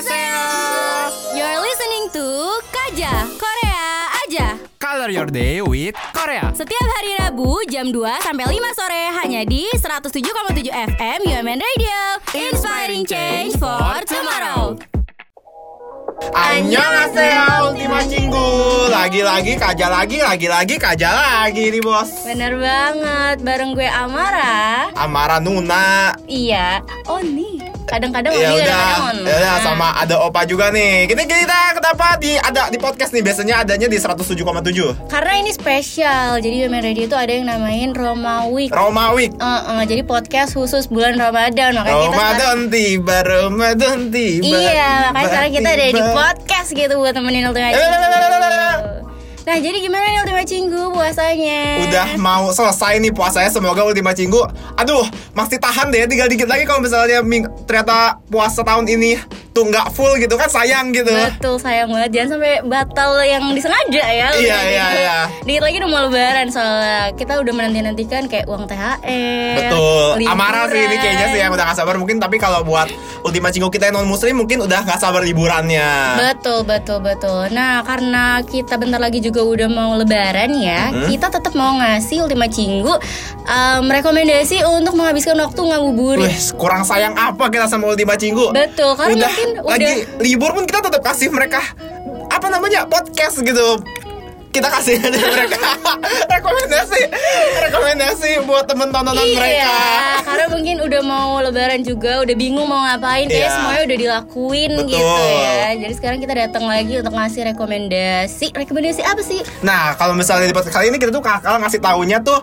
Annyeonghaseyo. You're listening to Kaja Korea aja. Color your day with Korea. Setiap hari Rabu jam 2 sampai 5 sore hanya di 107,7 FM UMN Radio. Inspiring change for tomorrow. Annyeonghaseyo Ultima Cinggu. Lagi-lagi kaja lagi, lagi-lagi kaja lagi nih bos. Bener banget, bareng gue Amara. Amara Nuna. Iya, oh nih. Kadang-kadang Ya Oni, udah, kadang-kadang Ona. ya udah sama ada Opa juga nih. Kita kita kenapa di ada di podcast nih biasanya adanya di 107,7. Karena ini spesial, jadi UMN Radio itu ada yang namain Roma Week. Romawi. Eh, eh, jadi podcast khusus bulan Ramadan makanya kita sekarang- Ramadan tiba, Ramadan tiba. Iya, makanya tiba, sekarang kita ada di tiba. podcast gitu buat temenin Ultima Eh, eh, eh, eh, eh, eh. Cinggu. Nah, jadi gimana nih Ultima Cinggu puasanya? Udah mau selesai nih puasanya semoga Ultima Cinggu. Aduh, masih tahan deh tinggal dikit lagi kalau misalnya ming- ternyata puasa tahun ini tuh nggak full gitu kan sayang gitu. Betul, sayang banget. Jangan sampai batal yang disengaja ya. Ultima Iya, iya, Cinggu. iya. Dikit lagi udah mau lebaran soalnya kita udah menanti-nantikan kayak uang THR. Betul. Amara sih ini liburan. kayaknya sih yang udah gak sabar mungkin tapi kalau buat Ultima Cinggu kita yang non muslim mungkin udah gak sabar liburannya. Betul, betul, betul. Nah, karena kita bentar lagi juga udah mau lebaran ya, Mm-hmm. kita tetap mau ngasih Ultima Cinggu em, rekomendasi untuk menghabiskan waktu ngabuburit. Wih, kurang sayang apa kita sama Ultima Cinggu? Betul, karena udah, mungkin lagi udah libur pun kita tetap kasih mereka apa namanya podcast gitu kita kasih aja mereka rekomendasi rekomendasi buat temen tontonan Iya. mereka karena mungkin udah mau lebaran juga, udah bingung mau ngapain, kayak Iya. semuanya udah dilakuin Betul. gitu ya. Jadi sekarang kita datang lagi untuk ngasih rekomendasi. Rekomendasi apa sih? nah kalau misalnya di podcast kali ini kita tuh kakak ngasih taunya tuh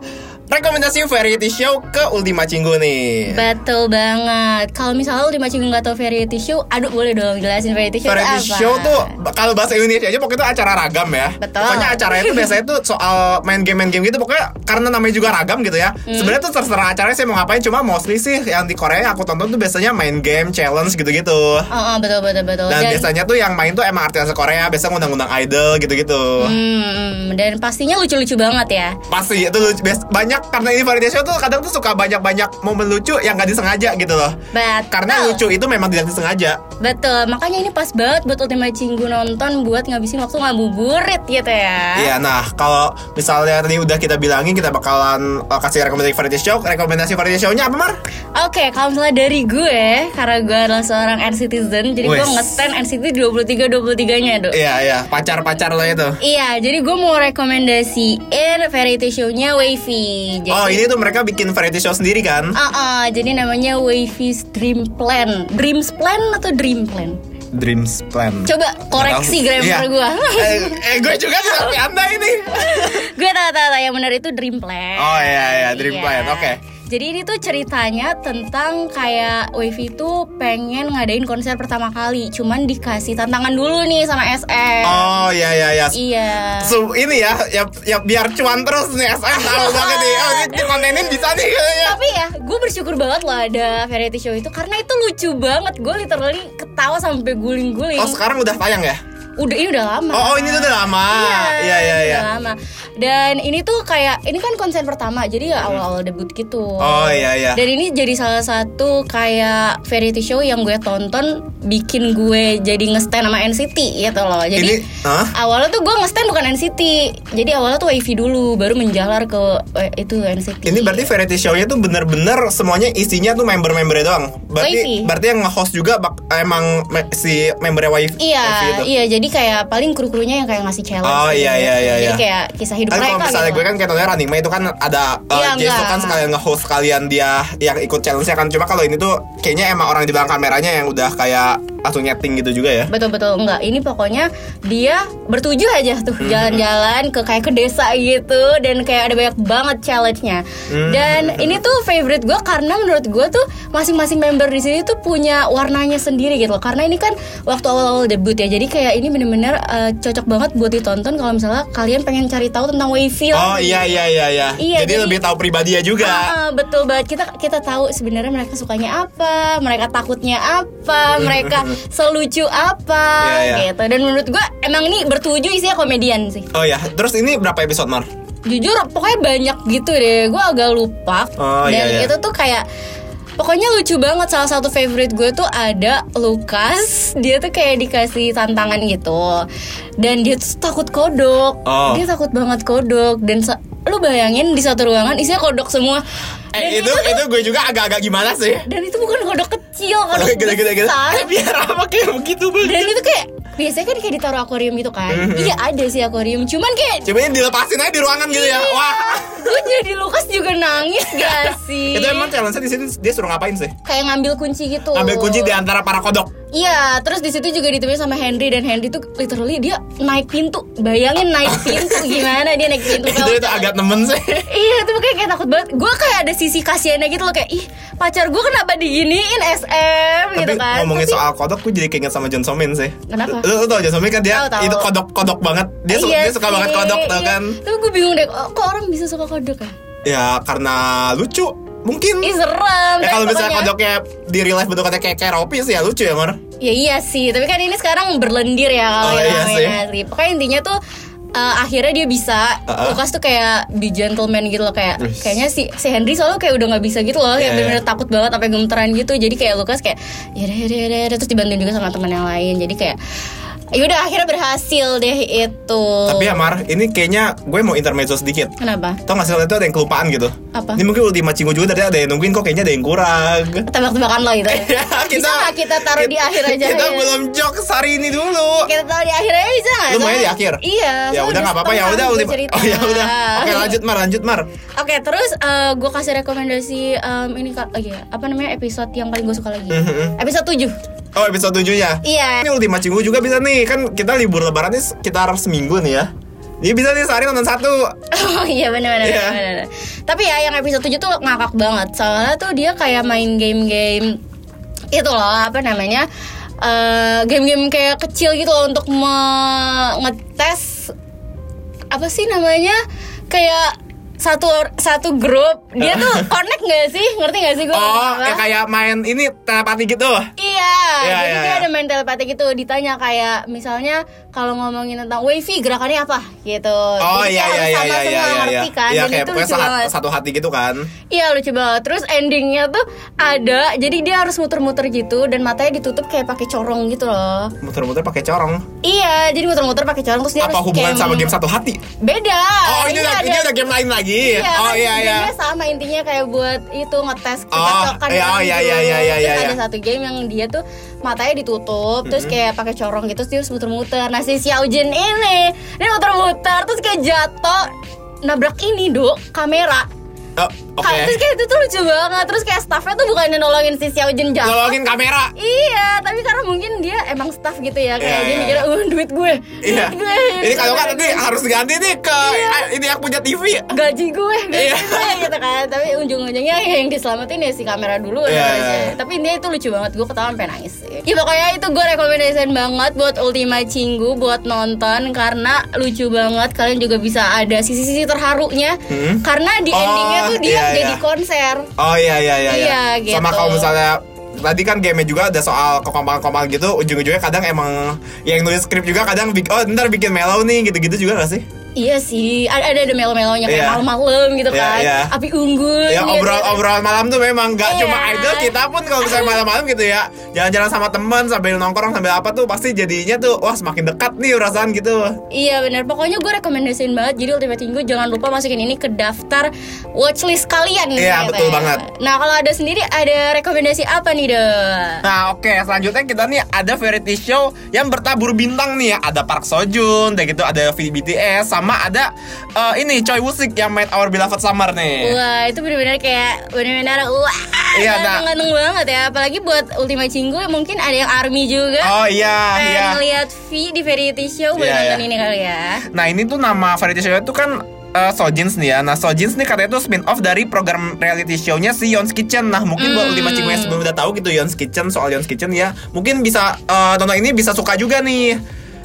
rekomendasi variety show ke Ultima Cinggu nih Betul banget. Kalau misalnya lu dimacing nggak tahu variety show, aduh boleh dong jelasin variety show itu Variety apa? show tuh kalau bahasa Indonesia aja pokoknya itu acara ragam ya. Betul. Pokoknya acaranya tuh biasanya tuh soal main game-main game gitu pokoknya karena namanya juga ragam gitu ya. Hmm. Sebenarnya tuh terserah acaranya saya mau ngapain cuma mostly sih yang di Korea yang aku tonton tuh biasanya main game, challenge gitu-gitu. Oh, oh, betul betul betul. Dan, biasanya tuh yang main tuh emang artis Korea, biasanya ngundang-ngundang idol gitu-gitu. Hmm, dan pastinya lucu-lucu banget ya. Pasti itu lucu- bias- banyak karena ini variety show tuh kadang tuh suka banyak-banyak momen lucu yang gak disengaja gitu loh. Betul. Karena lucu itu memang tidak disengaja. Betul, makanya ini pas banget buat Ultima Cinggu nonton buat ngabisin waktu ngabuburit gitu ya. Iya, nah kalau misalnya tadi udah kita bilangin kita bakalan uh, kasih rekomendasi variety show. Rekomendasi variety show-nya apa, Mar? Oke, kalau misalnya dari gue, karena gue adalah seorang N citizen, jadi gue Wes. ngestand N City 23 23-nya, Dok. Iya, iya, pacar-pacar lo itu. Iya, jadi gue mau rekomendasiin variety show-nya Wavy. Jadi, Oh, ini tuh mereka bikin variety show sendiri kan? Iya, Ah, ah, jadi namanya Wavy's Dream Plan. Dreams Plan atau Dream Plan? Dreams Plan. Coba koreksi Nggak tahu. grammar Iya. gue. eh, eh, gue juga tapi anda ini. gue tahu tahu tahu, yang benar itu dream plan. Oh, iya, iya, dream Eh. Iya. plan, oke. Jadi ini tuh ceritanya tentang kayak Wavy tuh pengen ngadain konser pertama kali, cuman dikasih tantangan dulu nih sama SM. Oh, iya, iya, iya. Iya. So, ini ya, ya, ya biar cuan terus nih SM tahu banget nih. Oh, Iya. ini kontenin bisa nih kayaknya. Tapi ya, gue bersyukur banget loh ada variety show itu karena itu lucu banget. Gue literally ketawa sampai guling-guling. Oh, sekarang udah tayang ya? udah ini udah lama. Oh, oh ini tuh udah lama. Iya, iya, ini iya. udah lama. Dan ini tuh kayak ini kan konser pertama, jadi ya awal-awal debut gitu. Hmm. Oh, iya, iya. Dan ini jadi salah satu kayak variety show yang gue tonton bikin gue jadi ngestand sama NCT gitu loh. Jadi Ini, hah? awalnya tuh gue ngestand bukan NCT. Jadi awalnya tuh WiFi dulu, baru menjalar ke eh, itu NCT. Ini berarti variety show-nya tuh bener-bener semuanya isinya tuh member-membernya doang. Wavy. Berarti berarti yang nge-host juga bak- emang me- si membernya wife. Iya, Wavy itu. iya. Jadi kayak paling kru-krunya yang kayak ngasih challenge. Oh, gitu. iya, iya, iya, Jadi iya. kayak kisah hidup Kan mereka. kalau misalnya gitu. gue kan kayak tontonnya Running Man itu kan ada uh, Iya, Jae-suk enggak. kan sekalian nge-host kalian dia yang ikut challenge-nya kan cuma kalau ini tuh kayaknya emang orang di belakang kameranya yang udah kayak langsung nyeting gitu juga ya. betul betul enggak ini pokoknya dia bertuju aja tuh Hmm. jalan-jalan ke kayak ke desa gitu dan kayak ada banyak banget challenge-nya Hmm. dan ini tuh favorite gue karena menurut gue tuh masing-masing member di sini tuh punya warnanya sendiri gitu loh karena ini kan waktu awal-awal debut ya jadi kayak ini bener-bener eh, cocok banget buat ditonton kalau misalnya kalian pengen cari tahu tentang Wavy Oh iya iya iya iya. Iya, jadi, jadi- lebih tahu pribadi ya juga. Ah, ah, betul banget kita kita tahu sebenarnya mereka sukanya apa, mereka takutnya apa, mereka selucu apa Iya, iya. gitu. Dan menurut gua emang ini bertuju isinya komedian sih. Oh ya, terus ini iya. berapa episode Mar? 23 jujur pokoknya banyak gitu deh gue agak lupa Oh, dan iya, iya. itu tuh kayak Pokoknya lucu banget salah satu favorite gue tuh ada Lukas Dia tuh kayak dikasih tantangan gitu Dan dia tuh takut kodok Oh. Dia takut banget kodok Dan sa- lu bayangin di satu ruangan isinya kodok semua Dan Eh, itu itu gue juga agak-agak gimana sih? dan itu bukan kodok kecil, kodok Gede-gede-gede. besar Eh, biar apa kayak begitu dan banget. itu kayak biasanya kan kayak ditaruh akuarium gitu kan Mm-hmm. iya ada sih akuarium cuman kayak Coba ini dilepasin aja di ruangan gitu Iya. ya. Wah. gue jadi Lukas juga nangis gak sih Itu emang challenge-nya di situ dia suruh ngapain sih? kayak ngambil kunci gitu Ambil kunci di antara para kodok. iya terus di situ juga ditemuin sama Henry dan Henry tuh literally dia naik pintu bayangin naik pintu gimana dia naik pintu Itu kalau- itu agak nemen sih. Iya itu makanya kayak takut banget Gue kayak ada sisi kasihannya gitu loh Kayak ih pacar gue kenapa diginiin SM gitu Tapi kan ngomongin Tapi- soal kodok, gue jadi keinget sama John Somin sih. Kenapa? Lu, lu tau John Somin kan dia Tahu, tahu. itu kodok-kodok banget. Dia, su- Iya dia suka sih, banget kodok tau iya. kan? Tapi gue bingung deh "Oh, kok kok orang bisa suka kodok ya Ya karena lucu mungkin. Ih serem Ya Dan kalau misalnya pokoknya- kodoknya di real life bentuknya kayak kayak Ropi sih ya lucu ya Mar. Ya iya sih, tapi kan ini sekarang berlendir ya kalau Oh, yang iya namanya sih. Pokoknya intinya tuh eh, akhirnya dia bisa Uh-uh. Lukas tuh kayak be gentleman gitu loh kayak Wis. kayaknya si si Henry selalu kayak udah nggak bisa gitu loh Iya, kayak bener-bener iya. takut banget sampai gemeteran gitu jadi kayak Lukas kayak "Ya yaudah yaudah yaudah, yaudah." terus dibantuin juga sama teman yang lain jadi kayak yaudah akhirnya berhasil deh itu Tapi ya Mar, ini kayaknya gue mau intermezzo sedikit. kenapa Tau gak sih waktu itu ada yang kelupaan gitu Apa? Ini mungkin ultima cinggu juga tadi ada yang nungguin kok kayaknya ada yang kurang tebak-tebakan lo gitu Ya, bisa nggak kita taruh di akhir aja Kita ya? belum jokes hari ini dulu kita taruh di akhir aja bisa nggak Lu maunya di akhir? iya Ya soalnya udah gak apa-apa ya setengah udah gue ultima cerita. Oh ya udah Oke lanjut Mar lanjut Mar Oke, terus gue kasih rekomendasi em, ini kak, oh, iya, apa namanya episode yang paling gue suka lagi? Mhm. Episode 7 Oh episode 7 ya Iya. Ini ultima cinggu juga bisa nih Kan kita libur lebaran nih sekitar seminggu nih ya Jadi bisa nih sehari nonton satu Oh iya benar-benar. Iya. benar-benar. Tapi ya yang episode 7 tuh ngakak banget. Soalnya tuh dia kayak main game-game itu loh apa namanya? eh, game-game kayak kecil gitu loh untuk mengetes apa sih namanya? Kayak satu or- satu grup dia tuh connect gak sih ngerti gak sih gue Oh ya kayak main ini telepati gitu Iya, jadi Iya, iya, dia iya. ada main telepati gitu ditanya kayak misalnya kalau ngomongin tentang wifi gerakannya apa gitu. Oh Jadi iya kayak harus iya iya sama iya semua iya iya ngerti kan. Iya jadi kayak itu pokoknya lucu sahat- banget. satu hati gitu kan Iya lucu banget. Terus endingnya tuh ada, jadi dia harus muter-muter gitu dan matanya ditutup kayak pakai corong gitu loh. Muter-muter pakai corong Iya, jadi muter-muter pakai corong terus dia apa harus hubungan cam- sama game satu hati? Beda. Oh, ini, Iya, udah, ada- ini udah game lain lagi. Iya, kan oh iya iya. sebenarnya sama intinya kayak buat itu ngetes kecocokan iya, oh, gitu. iya, iya, iya, iya, Terus iya. ada satu game yang dia tuh matanya ditutup terus kayak pakai corong gitu terus dia harus muter-muter. Nah si Xiao Jin ini dia muter-muter terus kayak jatuh nabrak ini dok kamera. Oh, oke. Kayak- Terus kayak itu tuh lucu banget. Terus kayak staffnya tuh bukannya nolongin si Xiao Jin jatuh. Nolongin kamera. Iya, tapi karena mungkin dia emang staff gitu ya kayak Iya, dia iya. mikirnya, "Uh, duit gue." Iya. Duit gue. Ini kalau kan nanti harus ganti nih ke eh, ini yang punya TV. gaji gue gaji Iya. gue gitu kan tapi ujung-ujungnya ya yang diselamatin ya si kamera dulu Iya, udah iya, aja. iya. tapi intinya itu lucu banget gue ketawa sampai nangis sih. ya pokoknya itu gue rekomendasiin banget buat Ultima Cinggu buat nonton karena lucu banget kalian juga bisa ada sisi-sisi terharunya Hmm. karena di Oh, endingnya tuh dia iya, iya. jadi konser Oh iya iya iya. Iya, gitu. Sama kalau misalnya tadi kan game juga ada soal kekompakan-kompakan gitu ujung-ujungnya kadang emang yang nulis skrip juga kadang bik- oh ntar bikin mellow nih gitu-gitu juga gak sih Iya sih, ada ada, ada melo-melonya kayak Iya. malam-malam gitu Iya, kan, iya. api unggul. ya gitu. obrol obrolan malam tuh memang gak Iya. cuma idol kita pun kalau misalnya malam-malam gitu ya jalan-jalan sama teman sambil nongkrong sambil apa tuh pasti jadinya tuh wah semakin dekat nih perasaan gitu Iya benar. Pokoknya gue rekomendasiin banget. Jadi Ultimate Tinggu jangan lupa masukin ini ke daftar watchlist kalian. nih, ternyata Iya, betul ya. banget. Nah kalau ada sendiri ada rekomendasi apa nih deh? Nah oke selanjutnya kita nih ada variety show yang bertabur bintang nih ya Ada Park Sojun, udah gitu ada V- BTS Sama ada eh, ini Choi Woo-sik yang main Our Beloved Summer nih Wah itu benar-benar kayak benar-benar wah Iya, nah. ganteng-ganteng banget ya. Apalagi buat Ultimate Tinggu mungkin ada yang Army juga. Oh iya iya Pengen lihat V di variety show boleh Iya, nonton iya. ini kali ya. Nah ini tuh nama variety show itu kan eh, Sojins nih ya Nah Sojins nih katanya tuh spin off dari program reality show-nya si Yon's Kitchen Nah mungkin buat Hmm. Ultima Cinggu yang sebelum udah tahu gitu Yon's Kitchen soal Yon's Kitchen ya Mungkin bisa eh, tonton ini bisa suka juga nih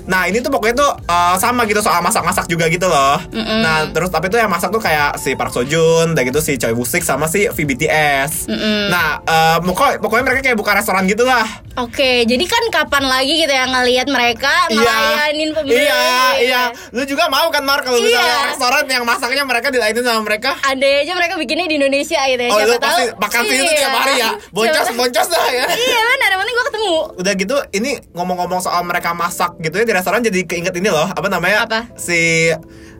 Nah ini tuh pokoknya tuh eh, sama gitu soal masak-masak juga gitu loh. Nah terus tapi tuh yang masak tuh kayak si Park Sojun, dan gitu si Choi Busik sama si VBTS. Nah eh, pokoknya, pokoknya mereka kayak buka restoran gitu lah. Oke, jadi kan kapan lagi gitu ya ngelihat mereka ngelayanin pembeli? Iya, iya. Lu juga mau kan Mar kalau misalnya Iya. restoran yang masaknya mereka dilainin sama mereka? Ada aja mereka bikinnya di Indonesia gitu ya. Oh, siapa lu pasti tahu. makan sih itu Iya. tiap hari ya. Boncos, Siapa- boncos dah ya. Iya benar, yang penting gue ketemu. Udah gitu, ini ngomong-ngomong soal mereka masak gitu ya di restoran jadi keinget ini loh, apa namanya? Apa? Si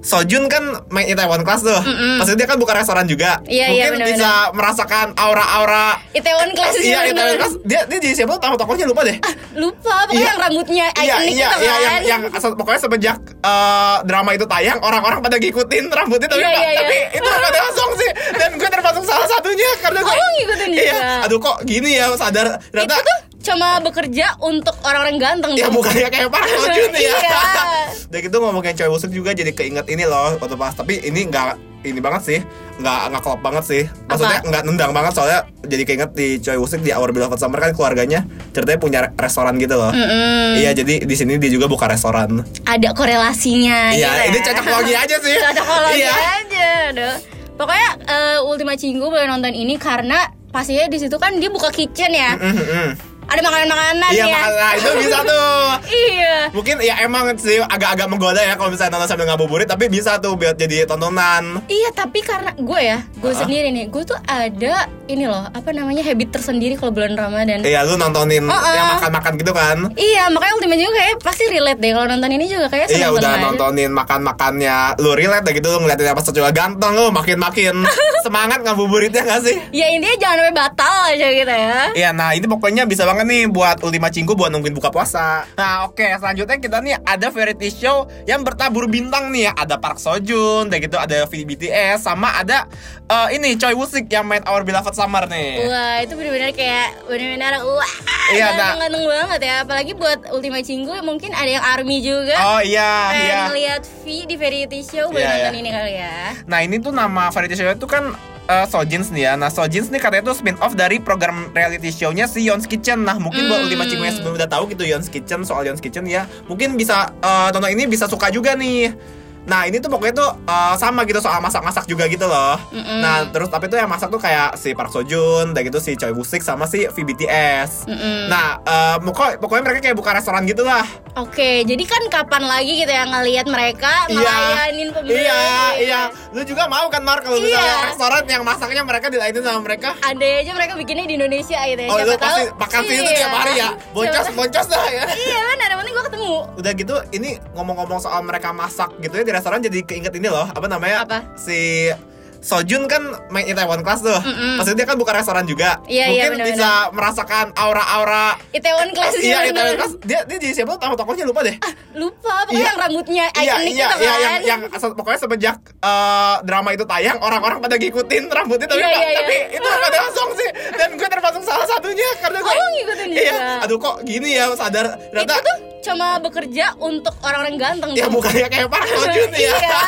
Sojun kan main Itaewon Class tuh. Maksudnya dia kan buka restoran juga. Iya, iya, Mungkin benar-benar. bisa merasakan aura-aura Itaewon Class Iya, bener. Itaewon Class. Dia dia jadi siapa tahu tokohnya lupa deh. Lupa, pokoknya Iya. yang rambutnya Iya, ikonik iya, gitu iya, kan. yang, yang se- pokoknya semenjak eh, drama itu tayang, orang-orang pada ngikutin rambutnya tapi Iya, nggak- iya, iya. tapi itu rambutnya kosong sih. Dan gue termasuk salah satunya karena gue Oh, ngikutin juga. Iya, aduh kok gini ya sadar ternyata Itu tuh cuma bekerja untuk orang-orang ganteng. ya tuh. mukanya kayak Park Seo Joon ya. Iya. Dan gitu ngomongin cewek busuk juga jadi keinget ini loh waktu pas tapi ini nggak ini banget sih nggak nggak klop banget sih maksudnya Apa? nggak nendang banget soalnya jadi keinget di Choi Woo Sik di Our Beloved Summer kan keluarganya ceritanya punya re- restoran gitu loh Mm-mm. iya jadi di sini dia juga buka restoran Ada korelasinya. gitu Iya, ini ya. cocok logi aja sih. Cocokologi Iya. aja, aduh. Pokoknya eh, Ultima Cinggu boleh nonton ini karena pastinya di situ kan dia buka kitchen ya. Mm-mm. Ada makanan-makanan Iya, ya. makanya itu bisa tuh. Iya. Mungkin ya emang sih agak-agak menggoda ya kalau misalnya nonton sambil ngabuburit, tapi bisa tuh buat jadi tontonan. Iya, tapi karena gue ya, gue sendiri nih, gue tuh ada ini loh, apa namanya habit tersendiri kalau bulan Ramadan. Iya, lu nontonin Uh-uh. yang makan-makan gitu kan. Iya, makanya Ultima Cinggu kayak pasti relate deh kalau nonton ini juga kayak Iya seneng-seneng udah aja. nontonin makan-makannya Lu relate dah gitu Lu ngeliatin apa secoba ganteng Lu makin-makin Semangat ngabuburitnya gak sih? Ya intinya jangan sampai batal aja gitu ya. Iya nah ini pokoknya bisa banget nih Buat Ultima Cinggu Buat nungguin buka puasa Nah oke selanjutnya kita nih Ada variety show Yang bertabur bintang nih ya Ada Park Sojun Dan gitu ada BTS Sama ada eh, Ini Choi Wusik Yang main Our Beloved Summer nih Wah itu benar-benar kayak benar-benar wah Iya, Nak. ganteng-ganteng banget ya. Apalagi buat Ultima Cinggu mungkin ada yang Army juga. Oh iya Pengen iya ngeliat V di variety show boleh Iya, nonton iya. ini kali ya. Nah ini tuh nama variety show itu kan eh, Sojins nih ya Nah Sojins nih katanya tuh spin off dari program reality show-nya si Yon's Kitchen Nah mungkin buat Hmm. Ultima Cinggu yang sebelum udah tahu gitu Yon's Kitchen Soal Yon's Kitchen ya Mungkin bisa eh, tonton ini bisa suka juga nih Nah ini tuh pokoknya tuh eh, sama gitu soal masak-masak juga gitu loh Mm-mm. Nah terus tapi tuh yang masak tuh kayak si Park Sojun Dan gitu si Choi Busik sama si VBTS Mm-mm. Nah eh, pokok- pokoknya mereka kayak buka restoran gitu lah Oke, jadi kan kapan lagi gitu ya ngelihat mereka ngelayanin pembeli. Iya, iya. Lu juga mau kan Mar kalau Iya. misalnya restoran yang masaknya mereka dilainin sama mereka? Ada aja mereka bikinnya di Indonesia gitu ya. Oh, siapa tahu. lu Iya. pasti makan sih itu tiap hari ya. Siapa Boncos, tahu. boncos dah ya. Iya benar, yang penting gue ketemu. Udah gitu, ini ngomong-ngomong soal mereka masak gitu ya di restoran jadi keinget ini loh, apa namanya? Apa? Si Sojun kan main Itaewon Class tuh. Mm-mm. Maksudnya dia kan buka restoran juga. Iya, iya, Mungkin benar-benar. bisa merasakan aura-aura Itaewon Class gitu, bener. Iya, Itaewon Class. Dia dia jadi siapa tahu tokohnya lupa deh. Lupa, pokoknya Iya. yang rambutnya Iya, ikonik iya, gitu iya, kan. yang, yang se- pokoknya semenjak eh, drama itu tayang, orang-orang pada ngikutin rambutnya tapi Iya, nggak- iya, iya. tapi itu rambutnya langsung sih. Dan gue termasuk salah satunya karena gue Oh, ngikutin juga. Iya, aduh kok gini ya sadar ternyata Itu tuh cuma bekerja untuk orang-orang ganteng. ya tuh. mukanya kayak Park Seo Joon ya. Iya.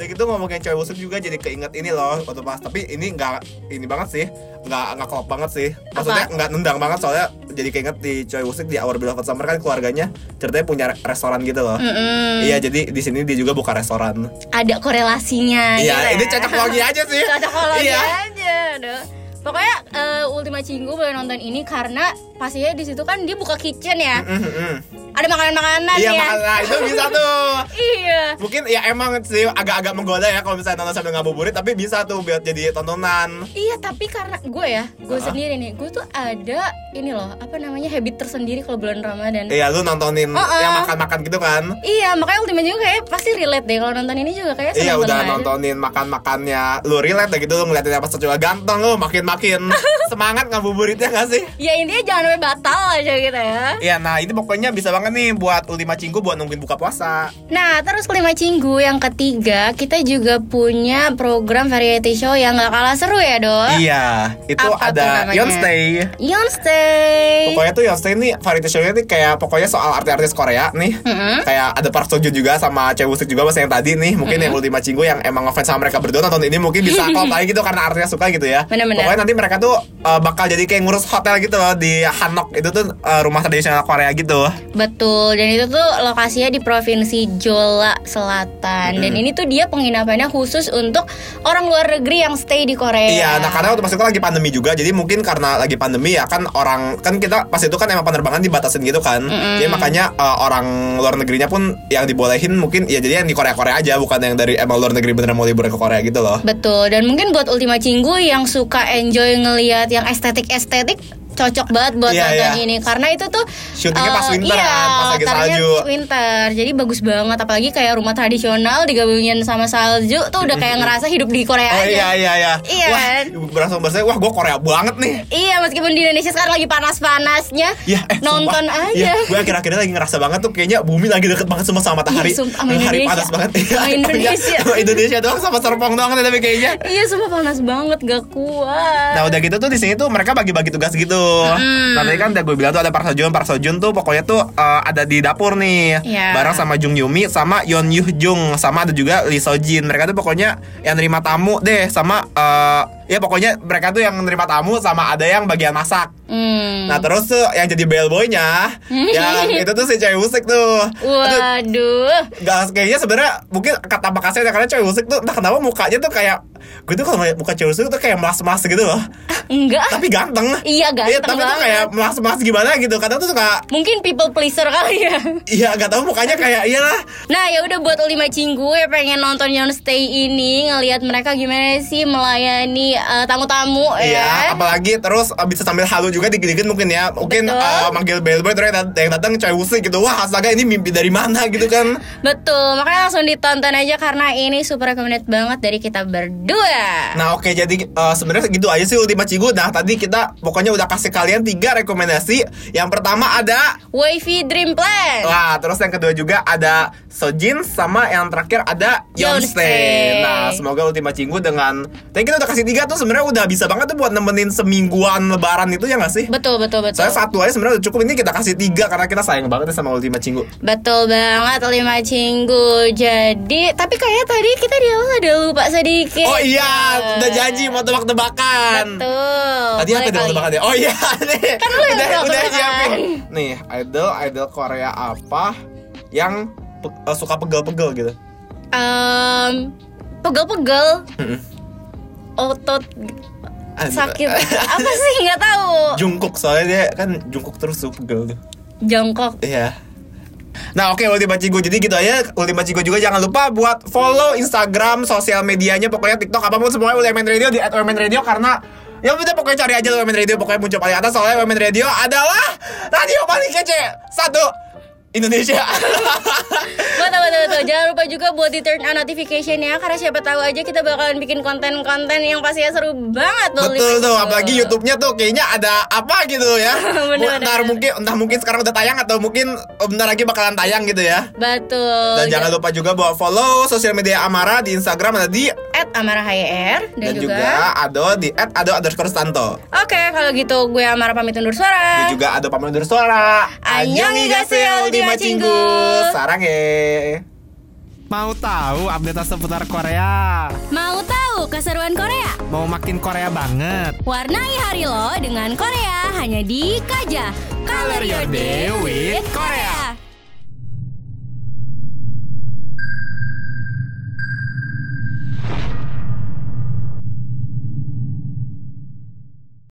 Dan gitu ngomongin cewek busuk juga jadi keinget ini loh waktu pas tapi ini nggak ini banget sih nggak nggak klop banget sih maksudnya Apa? nggak nendang banget soalnya jadi keinget di cewek busuk di Our Beloved Summer kan keluarganya ceritanya punya re- restoran gitu loh Mm-mm. iya jadi di sini dia juga buka restoran Ada korelasinya. Iya, gitu ya. ini cocok logi aja sih. Cocokologi Iya. aja. Aduh. Pokoknya eh, Ultima Cinggu boleh nonton ini karena pastinya di situ kan dia buka kitchen ya. Mm-mm. Ada makanan-makanan Iya, ya. makanya itu bisa tuh. Iya. Mungkin ya emang sih agak-agak menggoda ya kalau misalnya nonton sambil ngabuburit, tapi bisa tuh buat jadi tontonan. Iya tapi karena gue ya, gue Ah. sendiri nih, gue tuh ada ini loh, apa namanya habit tersendiri kalau bulan Ramadan. Iya, lu nontonin Uh-uh. yang makan-makan gitu kan. Iya, makanya Ultima juga kayak pasti relate deh kalau nonton ini juga kayak Iya seneng-seneng udah aja. nontonin makan-makannya Lu relate dah gitu Lu ngeliatin apa secoba ganteng Lu makin-makin Semangat ngabuburitnya gak sih? Ya intinya jangan sampai batal aja gitu ya. Iya nah ini pokoknya bisa banget nih Buat Ultima Cinggu Buat nungguin buka puasa Nah, terus kelima cinggu yang ketiga, kita juga punya program variety show yang gak kalah seru ya, Dok. Iya Itu Apa tuh ada namanya? Yonstay Yonstay. Pokoknya tuh Yonstay ini Variety show-nya nih Kayak pokoknya soal artis-artis Korea nih Mm-mm. kayak ada Park Seo Joon juga sama Choi Woo Sik juga mas yang tadi nih mungkin yang Ultima Cinggu yang emang ngefans sama mereka berdua nonton ini mungkin bisa kalau lagi gitu karena artinya suka gitu ya Benar-benar. pokoknya nanti mereka tuh eh, bakal jadi kayak ngurus hotel gitu loh di Hanok itu tuh eh, rumah tradisional Korea gitu Betul, dan itu tuh lokasinya di Provinsi Jola Selatan. Dan Hmm. ini tuh dia penginapannya khusus untuk orang luar negeri yang stay di Korea. Iya, nah karena waktu pas itu lagi pandemi juga, jadi mungkin karena lagi pandemi ya kan orang kan kita pas itu kan emang penerbangan dibatasin gitu kan, jadi makanya eh, orang luar negerinya pun yang dibolehin mungkin ya jadi yang di Korea Korea aja bukan yang dari emang luar negeri beneran mau liburan ke Korea gitu loh. Betul, dan mungkin buat Ultima Cinggu yang suka enjoy ngelihat yang estetik-estetik cocok banget buat Iya, nonton iya. ini karena itu tuh Syutingnya pas eh, winter iya, kan, pas lagi latarnya salju. winter jadi bagus banget apalagi kayak rumah tradisional digabungin sama salju tuh udah kayak ngerasa hidup di Korea Oh aja iya iya iya. Iya, Wah, kan? berasa berasa wah gue Korea banget nih. Iya, meskipun di Indonesia sekarang lagi panas-panasnya, Ya, eh, nonton sumpah. aja. Ya, gue akhir-akhirnya lagi ngerasa banget tuh kayaknya bumi lagi deket banget sama sama matahari. Iya, sumpah, sama matahari Indonesia. panas banget. Iya, Sama iya. Indonesia. Sama Indonesia doang sama Serpong doang tapi kayaknya. Iya, sumpah panas banget, gak kuat. Nah udah gitu tuh di sini tuh mereka bagi-bagi tugas gitu. Nah tadi kan udah gue bilang tuh ada Park Sojun, Park Sojun tuh pokoknya tuh eh, ada di dapur nih. Iya. Bareng sama Jung Yumi, sama Yeon Yuh Jung, sama ada juga Lee Sojin. Mereka tuh pokoknya yang nerima tamu deh, sama eh, ya pokoknya mereka tuh yang nerima tamu sama ada yang bagian masak. Hmm. Nah terus tuh yang jadi bellboynya, yang itu tuh si cewek musik tuh. Aduh, Waduh. Gak, kayaknya sebenarnya mungkin kata makasih karena cewek musik tuh entah kenapa mukanya tuh kayak gue tuh kalau ngeliat muka cewek musik tuh kayak melas-melas gitu loh Enggak. tapi ganteng Iya, ganteng tapi tuh banget. kayak melas-melas gimana gitu kadang tuh suka Mungkin people pleaser kali ya. iya gak tahu mukanya kayak iyalah Nah, ya udah buat Ulima Cinggu ya pengen nonton Yon Stay ini, ngelihat mereka gimana sih melayani eh, tamu-tamu ya. Iya, apalagi terus eh, bisa sambil halu juga dikit-dikit mungkin ya. Mungkin Betul. eh, manggil bellboy terus yang dat- yang datang cewek musik gitu. Wah, astaga ini mimpi dari mana gitu kan. Betul, makanya langsung ditonton aja karena ini super recommended banget dari kita berdua. Nah oke jadi eh, sebenarnya gitu aja sih Ultima Cigu Nah tadi kita pokoknya udah kasih kalian tiga rekomendasi Yang pertama ada Wavy Dream Plan. Wah Nah, terus yang kedua juga ada Sojin Sama yang terakhir ada Yonstein Yeonstein. Nah semoga Ultima Cigu dengan Tadi kita udah kasih tiga tuh sebenarnya udah bisa banget tuh buat nemenin semingguan lebaran itu ya gak sih? Betul, betul, betul. Saya satu aja sebenarnya udah cukup ini kita kasih tiga karena kita sayang banget ya sama Ultima Cinggu. Betul banget lima cinggu. Jadi tapi kayak tadi kita di awal ada lupa sedikit. Oh iya, udah janji mau tebak-tebakan. Betul. Tadi apa Boleh tadi kali. tebakan ya? Oh iya nih. Kan lu yang udah, tebak-tebakan. udah siapin. Nih, idol idol Korea apa yang pe- eh, suka pegel-pegel gitu? Em, pegel-pegel Mm-mm. otot Ah, gitu. sakit. apa sih nggak tahu. Jungkook soalnya dia kan jungkok terus tuh pegel tuh. Jongkok. Iya. Nah oke Ultima Cigo Jadi gitu aja Ultima Cigo juga jangan lupa buat follow Instagram Sosial medianya Pokoknya TikTok apapun semuanya Ultimate Radio di at Ultimate Radio Karena Ya udah pokoknya cari aja Ultimate Radio Pokoknya muncul paling atas Soalnya Ultimate Radio adalah Radio paling kece Satu Indonesia Betul, betul, betul. Jangan lupa juga buat di turn on notification ya karena siapa tahu aja kita bakalan bikin konten-konten yang pastinya seru banget loh, Betul Lima tuh Cinggu. Apalagi Youtube-nya tuh Kayaknya ada apa gitu ya Bener, Ntar bener. mungkin Entah mungkin sekarang udah tayang Atau mungkin Bentar lagi bakalan tayang gitu ya Betul. dan jangan lupa juga buat follow sosial media Amara di Instagram ada di at Amara HYR dan, dan, juga, Ado di at Ado underscore Stanto Oke, kalau gitu gue Amara pamit undur suara. dan juga Ado Pamandur Suara Annyeonghi gaseyo, di Ultima Macinggu Cinggu. sarang ya mau tahu update seputar Korea Mau tahu keseruan Korea? mau makin Korea banget Warnai hari lo dengan Korea hanya di Kaja. Color your day with Korea.